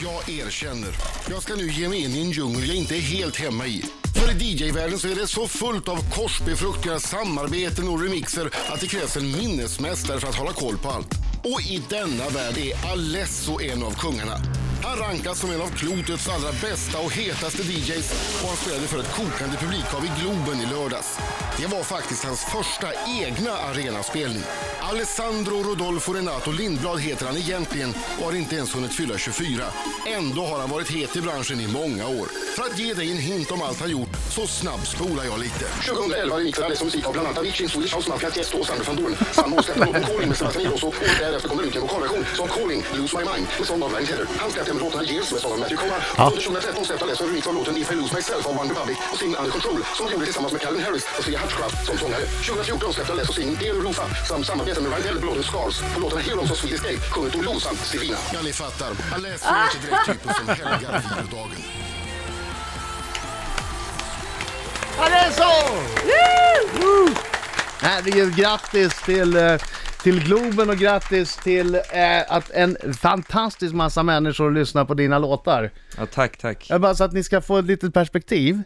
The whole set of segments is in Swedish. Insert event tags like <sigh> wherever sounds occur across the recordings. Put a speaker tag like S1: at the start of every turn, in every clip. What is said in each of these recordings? S1: Jag erkänner. Jag ska nu ge mig in i en djungel jag inte är helt hemma i. För i DJ-världen så är det så fullt av korsbefruktningar, samarbeten och remixer att det krävs en minnesmästare för att hålla koll på allt. Och i denna värld är Alesso en av kungarna. Han rankas som en av klotets allra bästa och hetaste DJs och han spelade för ett kokande publikhav i Globen i lördags. Det var faktiskt hans första egna arenaspelning. Alessandro Rodolfo Renato Lindblad heter han egentligen och har inte ens hunnit fylla 24. Ändå har han varit het i branschen i många år. För att ge dig en hint om allt han gjort så snabbspolar jag lite. 2011 riktar Alesso musik av bland annat Avicii, Swedish House Mafia, Tiesto och Sander van Doorn. Samma år släppte han låten Calling med Sebastian Ingrosso och året därefter kom det ut en vokalversion som Calling, Lose My Mind med sång av Ryan Tedder. Han släppte även låtarna Years med sång av Matthew Coma.
S2: Ja.
S1: Under 2013 släppte Alesso en remix av låten If I Lose Myself av One Republic och singeln Under Control som han gjorde tillsammans med Calvin Harris och Sia Hutchcraft som sångare. 2014 släppte Alesso singeln Dear Lufa samt samarbete med Ryan Tedder på låten Scars på låtarna Heroes och Swedish Escape, Sjunget Olof samt Sivina. Ja, ni fattar. Alesso är inte direkt typ typen som helgar vilodagen.
S2: Alesso! Woo! Herregud, grattis till, eh, till Globen och grattis till eh, att en fantastisk massa människor lyssnar på dina låtar.
S3: Ja, tack, tack.
S2: Jag bara så att ni ska få ett litet perspektiv.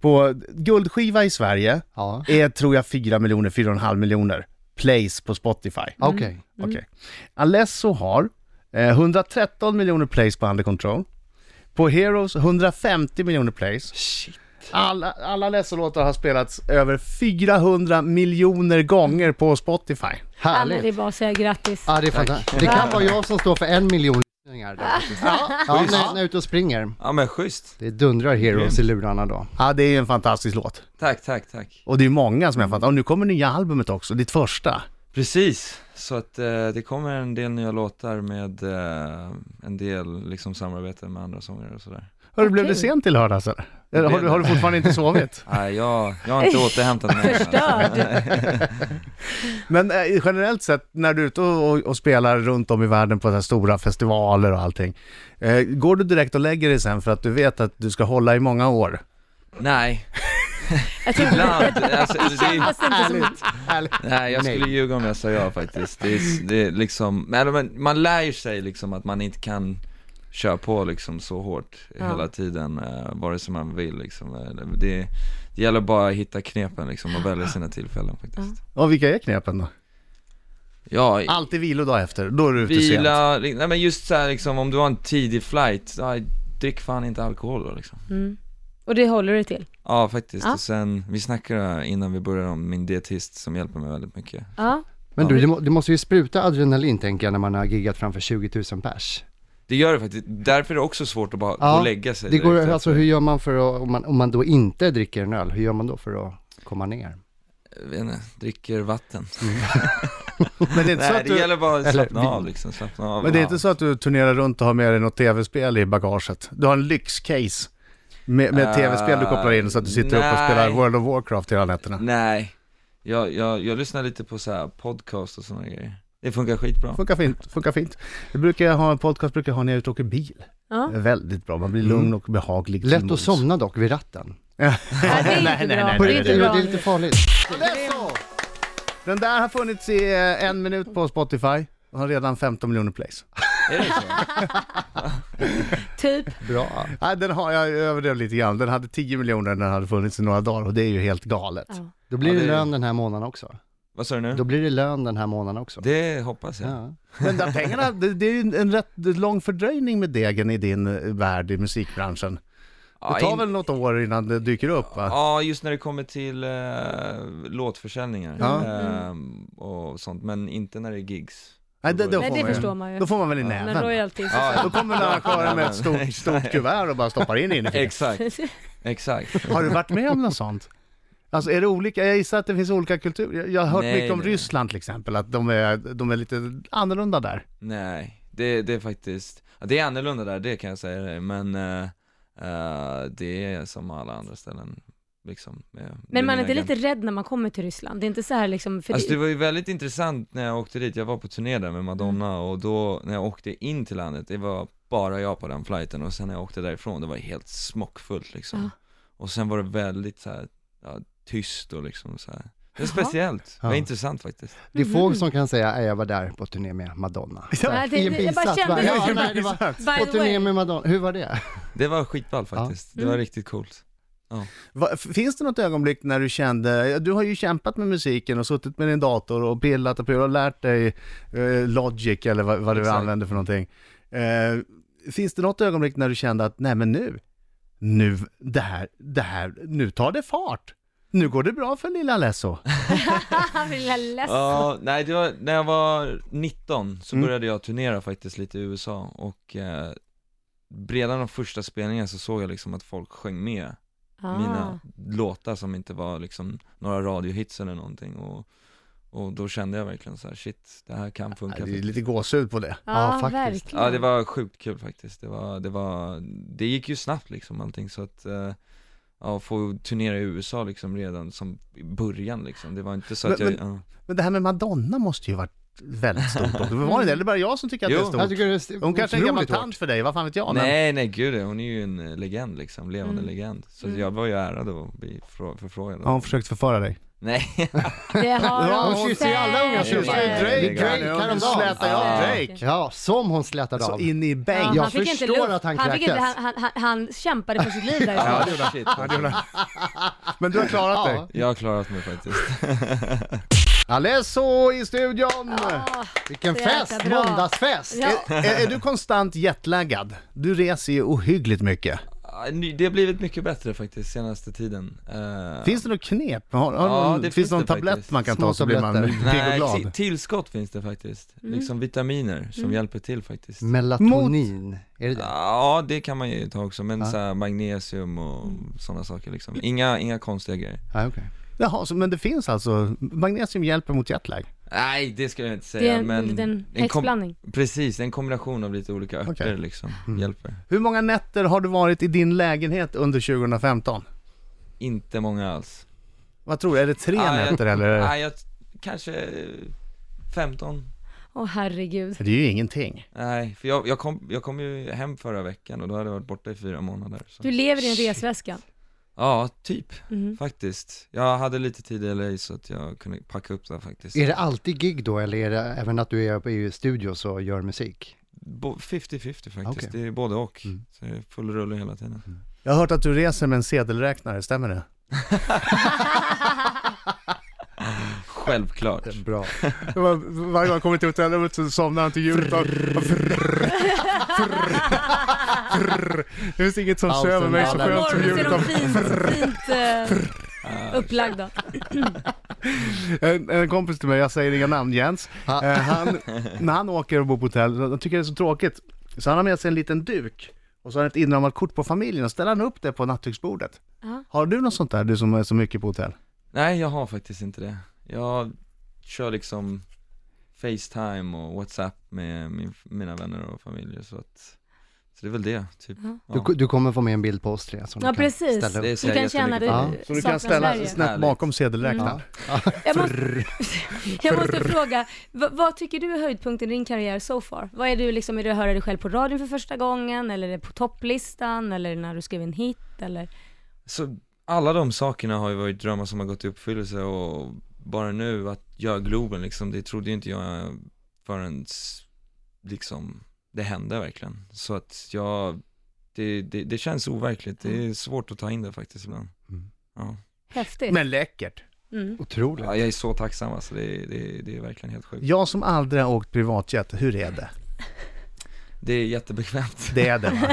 S2: På guldskiva i Sverige
S4: Mhm. Ja.
S2: är tror jag 4 miljoner, 4,5 miljoner plays på Spotify.
S4: Mm.
S2: Mm.
S4: Okej.
S2: Okej. Alesso har eh, 113 miljoner plays på Under Control. På Heroes 150 miljoner plays.
S3: Shit.
S2: Alla, alla Alesso-låtar har spelats över 400 miljoner gånger på Spotify.
S5: Alla det är
S4: Härligt.
S5: bara att säga grattis.
S4: Ja, det är fantastiskt. Det kan vara jag som står för en miljon lyssningar. då. Ja, när, när jag är ute och springer.
S3: Ja, men schysst.
S4: Det dundrar Heroes i lurarna då.
S2: Ja, det är ju en fantastisk låt.
S3: Tack, tack, tack.
S2: Och det är många som jag fattar. Och nu kommer nya albumet också, ditt första.
S3: Precis, så att eh, det kommer en del nya låtar med eh, en del liksom samarbete med andra sångare och sådär.
S2: Hörru, blev
S5: Okej.
S2: du sent till lördags eller? Eller Har, du- har du fortfarande inte sovit?
S3: Nej, jag, jag har inte återhämtat mig.
S5: Förstörd.
S2: <laughs> Men eh, generellt sett, när du är ute och, och, och spelar runt om i världen på så här stora festivaler och allting, eh, går du direkt och lägger dig sen för att du vet att du ska hålla i många år?
S3: Nej,
S5: Jag tycker
S3: ibland. Alltså, det
S5: det
S3: är,
S5: kändes inte som att...
S3: nej, jag skulle ljuga om jag sa ja faktiskt. Det är, det är liksom, men men man lär ju sig liksom att man inte kan köra på liksom så hårt
S5: Ja.
S3: hela tiden, eh, vare sig man vill liksom. Eller- Det, det gäller bara att hitta knepen liksom och välja sina tillfällen faktiskt.
S2: Och vilka är knepen då?
S3: Ja,
S2: Alltid vilodag efter, då är du ute sent.
S3: Vila, li- nej men just så här liksom om du har en tidig flight, aj, drick fan inte alkohol då liksom.
S5: Mm. Och det håller du till?
S3: Ja faktiskt,
S5: Ja.
S3: och sen, vi snackade innan vi började om min dietist som hjälper mig väldigt mycket.
S5: Ja.
S4: Men du, det, må, det måste ju spruta adrenalin tänker jag när man har giggat framför 20 000 pers.
S3: Det gör det faktiskt, därför är det också svårt att bara gå och lägga sig
S4: Det går,
S3: direkt
S4: alltså
S3: efter.
S4: hur gör man för att, om man, om man då inte dricker en öl, hur gör man då för att komma ner?
S3: Jag vet inte, dricker vatten.
S2: Men det är inte så
S3: Nej
S2: att
S3: det
S2: du...
S3: gäller bara att
S4: eller
S3: slappna
S4: vin.
S3: av liksom, slappna av.
S2: Men det är
S3: Ja.
S2: inte så att du turnerar runt och har med dig något tv-spel i bagaget? Du har en lyxcase med, med
S3: Eh,
S2: tv-spel du kopplar in så att du sitter upp och
S3: nej.
S2: spelar World of Warcraft hela nätterna?
S3: Nej, jag, jag, jag lyssnar lite på så här podcast och sådana grejer. Det funkar skitbra.
S2: Funkar fint, funkar fint. Det brukar jag ha, en podcast brukar jag ha när jag är ute och åker bil.
S5: Ja.
S2: Det är väldigt bra, man blir lugn och behaglig. till
S4: Mm. Lätt att
S2: mods.
S4: somna dock
S2: <laughs>
S4: vid ratten.
S5: Nej, det är
S2: Nej,
S5: inte
S2: nej,
S5: bra.
S2: nej,
S4: På
S2: nej,
S4: riktigt, det
S5: inte bra.
S4: är lite farligt.
S2: Den där har funnits i eh, en minut på Spotify och har redan 15 miljoner plays.
S3: Är det så?
S5: Typ.
S4: Bra.
S2: Nej, den har jag överdrev lite grann. Den hade 10 miljoner när den hade funnits i några dagar och det är ju helt galet.
S5: Ja.
S4: Då blir
S3: Ja,
S4: det
S3: det-
S4: lön den här månaden också.
S3: Vad sa du
S4: Då
S3: nu?
S4: blir det lön den här månaden också.
S3: Det hoppas jag.
S4: Ja.
S2: Men där pengarna, det, det är ju en- en rätt lång fördröjning med degen i din eh, värld i musikbranschen.
S3: Ja,
S2: Det tar
S3: in-
S2: väl något år innan det dyker upp va?
S3: Ja, just när det kommer till eh, låtförsäljningar
S2: Ja.
S3: ehm, och sånt, men inte när det är gigs.
S2: Nej, det, då,
S5: Nej,
S2: får
S5: det
S2: man
S5: förstår
S2: ju,
S5: man ju.
S2: då får man väl i
S5: Men
S2: näven.
S5: royalties.
S3: Ja,
S2: Då kommer en arrangör med ett
S3: <laughs>
S2: stort, stort kuvert och bara stoppar in i det.
S3: Exakt, exakt.
S2: Har du varit med om något sånt? Alltså är det olika? Jag gissar att det finns olika kulturer. Jag- Jag har hört
S3: Nej,
S2: mycket om
S3: nej.
S2: Ryssland till exempel, att de är, de är lite annorlunda där.
S3: Nej, det, det är faktiskt, ja, det är annorlunda där, det kan jag säga dig, men eh, eh, det är som alla andra ställen liksom. med- med
S5: <laughs> Men man är inte
S3: mina
S5: lite rädd när man kommer till Ryssland? Det är inte så här liksom, för
S3: Alltså
S5: det,
S3: det var ju väldigt intressant när jag åkte dit, jag var på turné där med Madonna
S5: Mm.
S3: och då när jag åkte in till landet, det var bara jag på den flighten och sen när jag åkte därifrån, det var helt smockfullt liksom
S5: Ja.
S3: Och sen var det väldigt så här, ja, tyst och liksom så här. Det är speciellt, det är intressant faktiskt.
S4: Det är få som kan säga att jag var där på turné med Madonna.
S5: Nej, Mhm. det,
S4: I en
S5: det, jag bara
S4: bisats
S5: kände
S4: bara, ja,
S5: det.
S4: nej, det var
S5: By
S4: på
S5: the way.
S4: turné med Madonna. Hur var det?
S3: Det var skitball faktiskt,
S5: Mm.
S3: det var riktigt coolt.
S2: Va, finns det något ögonblick när du kände, du har ju kämpat med musiken och suttit med din dator och pillat och pillat och lärt dig eh, Logic eller vad, vad du
S3: Exakt.
S2: använder för någonting. Eh, finns det något ögonblick när du kände att, nej men nu, nu, det här, det här, nu tar det fart. Nu går det bra för lilla Lesso.
S5: Lilla ledsen.
S3: Ja, nej det var, när jag var 19
S2: Mm.
S3: så började jag turnera faktiskt lite i USA och eh, redan de första spelningarna så såg jag liksom att folk sjöng med
S5: Ah.
S3: mina låtar som inte var liksom några radiohits eller någonting och, och då kände jag verkligen så här, shit, det här kan funka
S2: Ja, Det är lite gåshud på det.
S5: Ja,
S4: Ja, faktiskt.
S5: verkligen.
S3: Ja det var sjukt kul faktiskt, det var, det var, det gick ju snabbt liksom allting så att eh, Ja, få turnera i USA liksom redan som i början liksom, det var inte så att
S2: Men-
S3: jag, ja.
S2: Men det här med Madonna måste ju varit väldigt stort också. Var det det? Eller bara jag som tycker att
S3: Jo.
S2: det är stort?
S4: Jag tycker det är
S2: Hon kanske är en gammal
S4: otroligt hårt.
S2: tant för dig, vad fan vet jag? Men,
S3: Nej nej gud hon är ju en eh, legend liksom, levande
S5: Mm.
S3: legend Så
S5: Mm.
S3: jag var ju ärad att bli frå- förfrågad
S2: har hon försökt förföra dig?
S3: Nej,
S5: Det har
S2: Ja,
S5: de
S2: hon
S4: kysser ju alla unga
S5: säkert.
S2: Jag kysste ju
S3: Nej,
S2: Drake,
S3: det är
S2: Drake
S4: galet.
S2: häromdagen.
S4: Ja.
S2: slätade jag av Drake.
S4: Ja, som hon slätade
S2: Så
S4: av.
S2: Alltså, in i
S5: Ja,
S2: bänk.
S4: Jag
S5: han fick inte
S4: förstår
S5: luft.
S4: att han
S5: han, fick inte,
S4: kräktes.
S5: han, han, han kämpade för sitt liv där.
S3: ja det gjorde <laughs> shit alltså.
S2: Men du har klarat
S4: Ja.
S2: dig.
S3: Jag har klarat mig faktiskt
S2: Alesso i studion!
S5: Ja.
S4: Vilken
S5: Så jäkla
S4: fest!
S5: bra.
S4: Måndagsfest!
S5: Ja.
S2: Är, är du konstant jetlaggad? Du reser ju ohyggligt mycket.
S3: Ah, ny- Det har blivit mycket bättre faktiskt senaste tiden Eh,
S2: Finns det något knep? Har, har
S3: Ja,
S2: någon,
S3: det
S2: finns,
S3: finns
S2: det någon
S3: det
S2: tablett
S3: faktiskt.
S2: man kan
S4: Små
S2: ta så blir man
S4: tabletter.
S2: pigg och
S3: Nej, ti-
S2: glad?
S3: tillskott finns det faktiskt,
S5: Mm.
S3: liksom vitaminer som hjälper till faktiskt
S2: Mm.
S4: Melatonin, är det det?
S3: Ja det kan man ju ta också, men så här magnesium och
S5: Mm.
S3: sådana saker liksom. Inga, inga konstiga grejer
S4: Ja, okej.
S2: Jaha, så, men det finns alltså, magnesium hjälper mot jetlag?
S3: Nej det ska jag inte säga
S5: Det är en
S3: men
S5: liten
S3: kom-
S5: häxblandning.
S3: Precis, en kombination av lite olika örter
S2: Okej.
S3: liksom, hjälper
S2: Hur många nätter har du varit i din lägenhet under 2015?
S3: Inte många alls
S2: Vad tror du, är det tre
S3: Ah, jag-
S2: nätter eller?
S3: Nej jag, kanske eh, 15
S5: Åh herregud.
S2: Det är ju ingenting.
S3: Nej, för jag, jag, kom, jag kom ju hem förra veckan och då hade jag varit borta i fyra månader så.
S5: Du lever i en resväska.
S3: Ja, typ,
S5: Mm.
S3: faktiskt Jag hade lite tid i LA så att jag kunde packa upp det faktiskt
S4: Är det alltid gig då, eller är det även att du är i studios och gör musik?
S3: Bo- 50-50 faktiskt,
S4: Okej. Mm.
S3: det är både och Så det är full rulle hela tiden
S2: Jag har hört att du reser med en sedelräknare, stämmer det?
S3: Självklart
S4: Bra.
S2: Varje gång jag kommer till hotellrummet så somnar han till ljudet av... Det finns inget som
S4: Pausen söver mig så
S5: Ja,
S4: skönt
S5: på morgonen ser de fint, fint eh, upplagda.
S2: En, en kompis till mig, jag säger inga namn, Jens.
S4: Ha.
S2: Eh, han, när han åker och bor på hotell, han tycker det är så tråkigt. Så han har med sig en liten duk och så har han ett inramat kort på familjen och ställer han upp det på nattduksbordet.
S5: Ja.
S2: Har du något sånt där, du som är så mycket på hotell?
S3: Nej, jag har faktiskt inte det Jag kör liksom Facetime och Whatsapp med min, mina vänner och familjer så att Så det är väl det, typ
S5: Ja.
S3: Ja.
S4: Du, du kommer få med en bild på oss tre som
S5: Ja,
S4: du kan
S5: precis.
S4: ställa upp.
S3: Det
S5: Du
S3: ser
S5: kan
S3: jag
S5: känna dig
S3: jättemycket
S4: Ja.
S2: Så du
S5: saknar
S2: kan ställa
S5: Sverige.
S2: snett
S3: Härligt.
S2: bakom sedelräknaren.
S5: Jag måste, <laughs> jag måste fråga, vad, vad tycker du är höjdpunkten i din karriär so far? Vad är du liksom, är det att höra dig själv på radion för första gången? Eller är det på topplistan? Eller när du skrev en hit? Eller?
S3: Så alla de sakerna har ju varit drömmar som har gått i uppfyllelse och bara nu att göra Globen liksom, det trodde ju inte jag förrän s- liksom det hände verkligen. Så att jag, det, det, det känns overkligt, det är svårt att ta in det faktiskt ibland. Ja.
S5: Häftigt.
S2: Men läckert.
S5: Mm.
S4: Otroligt.
S3: ja, jag är så tacksam alltså, det, det, det är verkligen helt sjukt.
S2: Jag som aldrig har åkt privatjet, hur är det?
S3: Det är
S2: <laughs>
S3: jättebekvämt,
S2: Det är det va?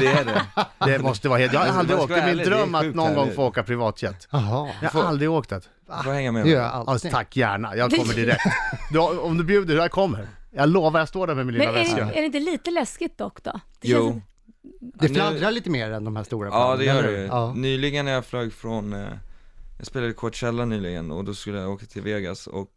S3: det är det.
S2: Det måste vara helt... Jag har
S3: Alltså,
S2: aldrig
S3: man
S2: åkt.
S3: ska
S2: Det
S3: vara
S2: är min
S3: ärlig, det är
S2: dröm att
S3: sjukt
S2: någon gång
S3: härligt.
S2: få åka privatjet.
S4: Jaha,
S2: Jag har aldrig åkt det.
S3: Du får hänga med
S4: det gör
S3: mig.
S4: jag
S2: Alltså,
S4: alltid.
S2: tack, gärna. Jag
S3: <laughs>
S2: kommer direkt. Du, om du bjuder, jag kommer. Jag lovar, jag står där med min
S5: Men
S2: lilla
S5: är, det-
S2: väska.
S5: är det inte lite läskigt dock då? Det känns
S3: Jo.
S5: att-
S4: Det
S3: Nu-
S4: fladdrar lite mer än de här stora
S3: Ja det
S4: planen,
S3: gör
S4: eller
S3: det
S4: hur?
S3: ju. Mm.
S4: Ja.
S3: Nyligen när jag flög från, eh, jag spelade Coachella nyligen och då skulle jag åka till Vegas och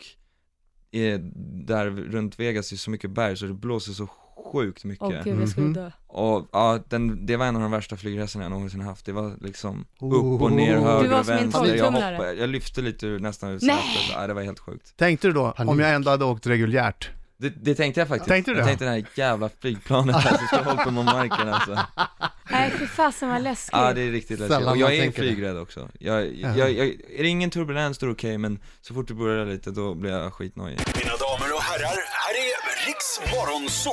S3: eh, där runt Vegas är så mycket berg så det blåser så sjukt mycket.
S5: Åh gud, jag skulle dö.
S3: Och ja, den, det var en av de värsta flygresorna jag någonsin haft. Det var liksom upp
S4: Oh.
S3: och ner,
S4: Du var
S3: höger och
S5: som en
S3: vänster. Jag,
S5: torktumlare.
S3: hoppade, jag lyfte lite ur, nästan ur
S5: Nej.
S3: sätet. Ja, det var helt sjukt.
S2: Tänkte du då, om
S4: Panik.
S2: jag ändå hade åkt reguljärt?
S3: Det, det tänkte jag faktiskt.
S2: Tänkte du
S3: jag
S2: det?
S3: tänkte det här jävla flygplanet alltså, ska hålla på med marken alltså.
S5: Nej, fy fasen vad läskigt.
S3: Ja, det är riktigt läskigt.
S4: Sällan
S3: Och jag
S4: man
S3: är
S4: tänker det.
S3: flygrädd också. Jag, jag, jag, är det ingen turbulens då är det okej, men så fort det börjar lite då blir jag skitnojig.
S6: Mina damer och herrar, här är Riks Morgonzoo!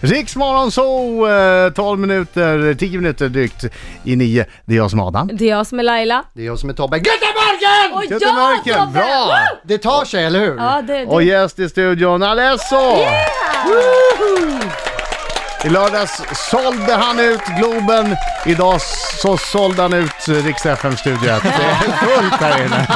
S2: Riksmorgon så eh, 12 minuter, 10 minuter drygt i nio. Det är jag som är Adam.
S5: Det är jag som är Laila.
S4: Det är jag som är Tobbe. Göteborgen!
S5: Och jag,
S2: Göteborgen,
S5: Tobbe!
S2: bra!
S5: Woo!
S4: Det tar sig, eller hur?
S5: Ja, det, det.
S2: Och gäst i studion, Alesso! Woho! I lördags sålde han ut Globen, idag så sålde han ut Rix FM studio 1. Det är fullt här inne.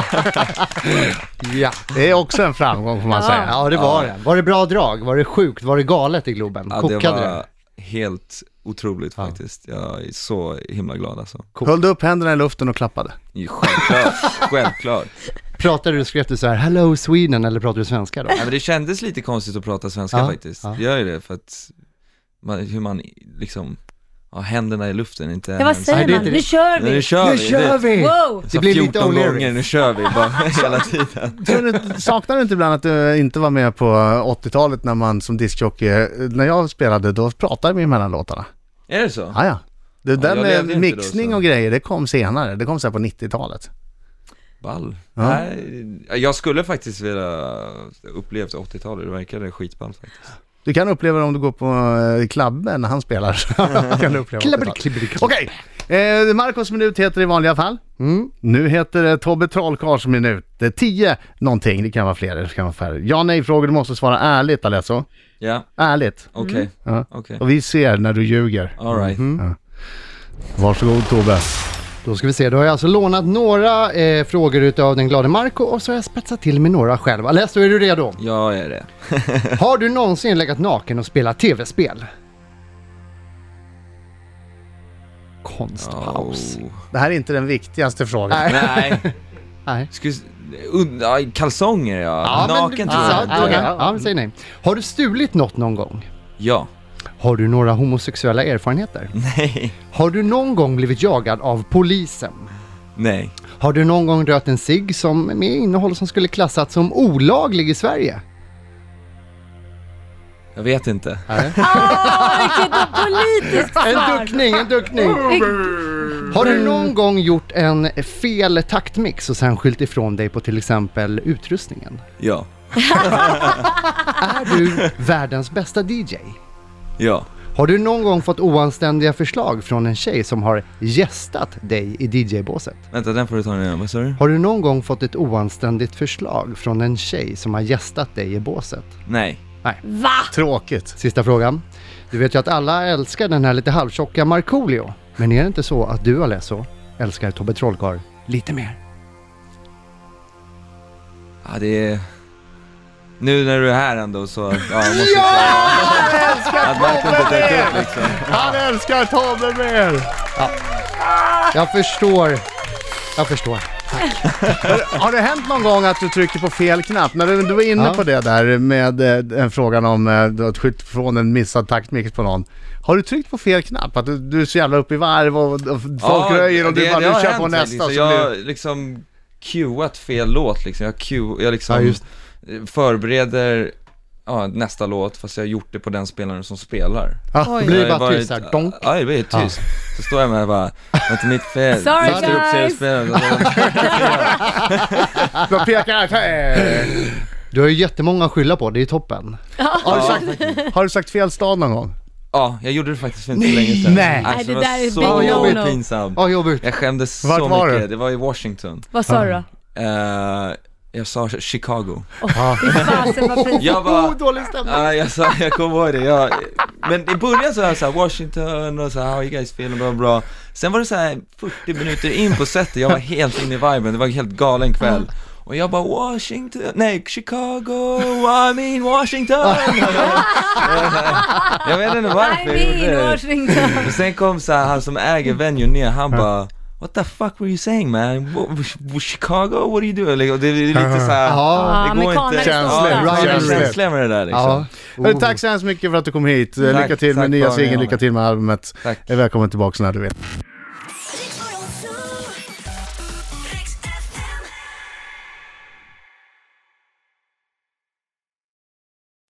S4: Ja.
S2: Det är också en framgång får man
S5: Ja.
S2: säga.
S4: Ja, det var det. Var det bra drag? Var det sjukt? Var det galet i Globen?
S3: Ja,
S4: Kokade
S3: det var
S4: det?
S3: helt otroligt faktiskt. Jag är så himla glad alltså.
S2: Höll du upp händerna i luften och klappade?
S3: Självklart,
S4: <laughs>
S3: självklart.
S4: Pratade du, skrev du så här “Hello Sweden” eller pratade du svenska då?
S3: Nej, men det kändes lite konstigt att prata svenska
S4: Ja,
S3: faktiskt.
S4: ja.
S3: Det gör ju det för att man, hur man liksom, har händerna i luften, inte
S5: ja, vad
S3: ens-
S5: säger
S4: det är
S5: man?
S4: inte-
S5: Nu kör
S3: Nej,
S5: vi!
S3: Nu kör vi! Det-
S4: vi!
S5: Wow!
S3: Så
S4: blir lite
S3: 14 gånger,
S4: O'Learys.
S3: nu kör vi
S4: <laughs>
S3: bara hela tiden.
S2: Tror du- Saknar du inte ibland att du inte var med på 80-talet när man som diskjockey, eh, när jag spelade då pratade vi mellan låtarna.
S3: Är det så?
S2: Ah, ja. Det där
S3: jag
S2: med
S3: levde inte då,
S2: mixning
S3: så.
S2: och grejer, det kom senare. Det kom så här på 90-talet.
S3: Ball. Nej, jag skulle faktiskt vilja upplevt 80-talet, det verkade skitball faktiskt.
S2: Du kan uppleva det om du går på eh, klubben när han <laughs> spelar. kan du uppleva
S4: Klibber,
S2: det.
S4: klibber, klibber.
S2: Okej, eh, Marcos minut heter det i vanliga fall. Nu heter det Tobbe Trollkarls minut. Det är 10 någonting, det kan vara fler, det kan vara färre. Ja nej-frågor, du måste svara ärligt Alesso.
S3: Ja,
S2: Ärligt.
S3: okej.
S2: Ja.
S3: Okej,
S2: Och vi ser när du ljuger.
S3: alright.
S2: Varsågod Tobbe.
S4: Då ska vi se, då har jag alltså lånat några eh, frågor utav den glade Marco och så har jag spetsat till med några själv. Alessio, är
S3: <laughs>
S4: du redo?
S3: Jag är det.
S4: Har du någonsin legat naken och spelat tv-spel? Konstpaus.
S3: Oh.
S2: Det här är inte den viktigaste frågan.
S4: Nej.
S3: Nej.
S4: Nej.
S3: Skulle- und- ja, kalsonger ja. Naken tror
S4: ja,
S3: jag.
S4: ja,
S3: inte.
S4: ja, ja, vi säger nej. Har du stulit något någon gång?
S3: Ja.
S4: Har du några homosexuella erfarenheter?
S3: Nej.
S4: Har du någon gång blivit jagad av polisen?
S3: <laughs> Nej.
S4: Har du någon gång rökt en cigg som med innehåll som skulle klassats som olaglig i Sverige?
S3: Jag vet inte.
S5: Åh, vilket politiskt
S4: <laughs> En
S5: svar!
S4: duckning, en duckning! Har du någon gång gjort en fel taktmix och sen skylt ifrån dig på till exempel utrustningen?
S3: Ja.
S4: Är du världens bästa DJ?
S3: Ja.
S4: Har du någon gång fått oanständiga förslag från en tjej som har gästat dig i DJ-båset?
S3: Vänta, den får du ta nu igen. Vad sa du?
S4: Har du någon gång fått ett oanständigt förslag från en tjej som har gästat dig i båset?
S3: Nej.
S5: Va?
S2: Tråkigt.
S4: Sista frågan. Du vet ju att alla älskar den här lite halvtjocka Markoolio. Men är det inte så att du, Alesso, älskar Tobbe Trollkarl lite mer?
S3: Ja, det är... Nu när du är här ändå så... Ja, jag måste säga att Marko inte tänkte upp liksom.
S2: Han älskar Tobbe mer!
S4: Jag förstår. Jag förstår.
S2: Har det hänt någon gång att du trycker på fel knapp? När du, du var inne
S4: Ja.
S2: på det där med eh, en frågan om eh, du har ett skydd från en missad taktmix på någon. Har du tryckt på fel knapp? Att du, du är så jävla uppe i varv och, och folk röjer och du bara
S3: har
S2: du kör
S3: hänt
S2: på
S3: mig,
S2: nästa.
S3: Liksom.
S2: Så blir...
S3: Jag liksom cueat fel låt liksom. Jag, cue, jag liksom
S4: Ja, just.
S3: förbereder ja, nästa låt fast jag har gjort det på den spelaren som spelar.
S4: Då blir
S3: Jag
S4: det
S3: har
S4: bara
S3: varit-
S4: tyst här. Donk.
S3: Ja, det blir helt tyst. Så står jag med och bara, det är inte mitt fel.
S5: <laughs> Sorry,
S3: Jag styr upp
S5: guys.
S3: seriespelaren.
S2: Jag pekar här. Hey.
S4: Du har ju jättemånga att skylla på, det är toppen.
S2: Har, du sagt, har du sagt fel stad någon gång?
S3: Ja, jag gjorde det faktiskt för inte så länge sedan.
S2: Nej.
S5: Nej,
S3: Alltså,
S5: det
S3: det
S5: där är
S3: var
S5: big
S3: så
S5: no-no.
S3: jävligt pinsamt.
S4: Ja, jobbigt.
S3: Jag skämdes så
S2: Vart
S3: mycket.
S2: var du?
S3: Det var i Washington.
S5: Vad sa du då?
S3: Eh, jag sa Chicago.
S5: Fy fasen vad pinsamt.
S3: Jag bara,
S4: dålig stämning.
S3: Ja, jag, sa, jag kommer ihåg det. Jag, men i början så var jag så här, Washington och så här, how you guys feeling, bla bla. Sen var det så här 40 minuter in på setet, jag var helt inne i viben, det var en helt galen kväll. Och jag bara Washington, nej Chicago, I mean Washington. jag vet inte
S5: I
S3: varför jag gjorde
S5: mean
S3: det.
S5: Washington.
S3: Och <laughs> sen kom så här, han som äger venue ner, han bara What the fuck were you saying man? Wh- wh- Chicago, what are you doing? Liksom, Det är lite så här,
S4: Ja.
S3: det går
S5: Amerikaner
S3: inte.
S5: är så
S2: Känsligt,
S3: Ja, det är
S2: känsligt.
S3: känsliga med det där liksom.
S4: Ja.
S2: Hörru, Tack så hemskt mycket för att du kom hit. Eh,
S3: Tack,
S2: lycka till med
S3: tack
S2: nya
S3: för att ni
S2: singeln,
S3: har
S2: lycka
S3: mig.
S2: till med albumet.
S3: Tack.
S2: Eh, Välkommen tillbaka när du vill.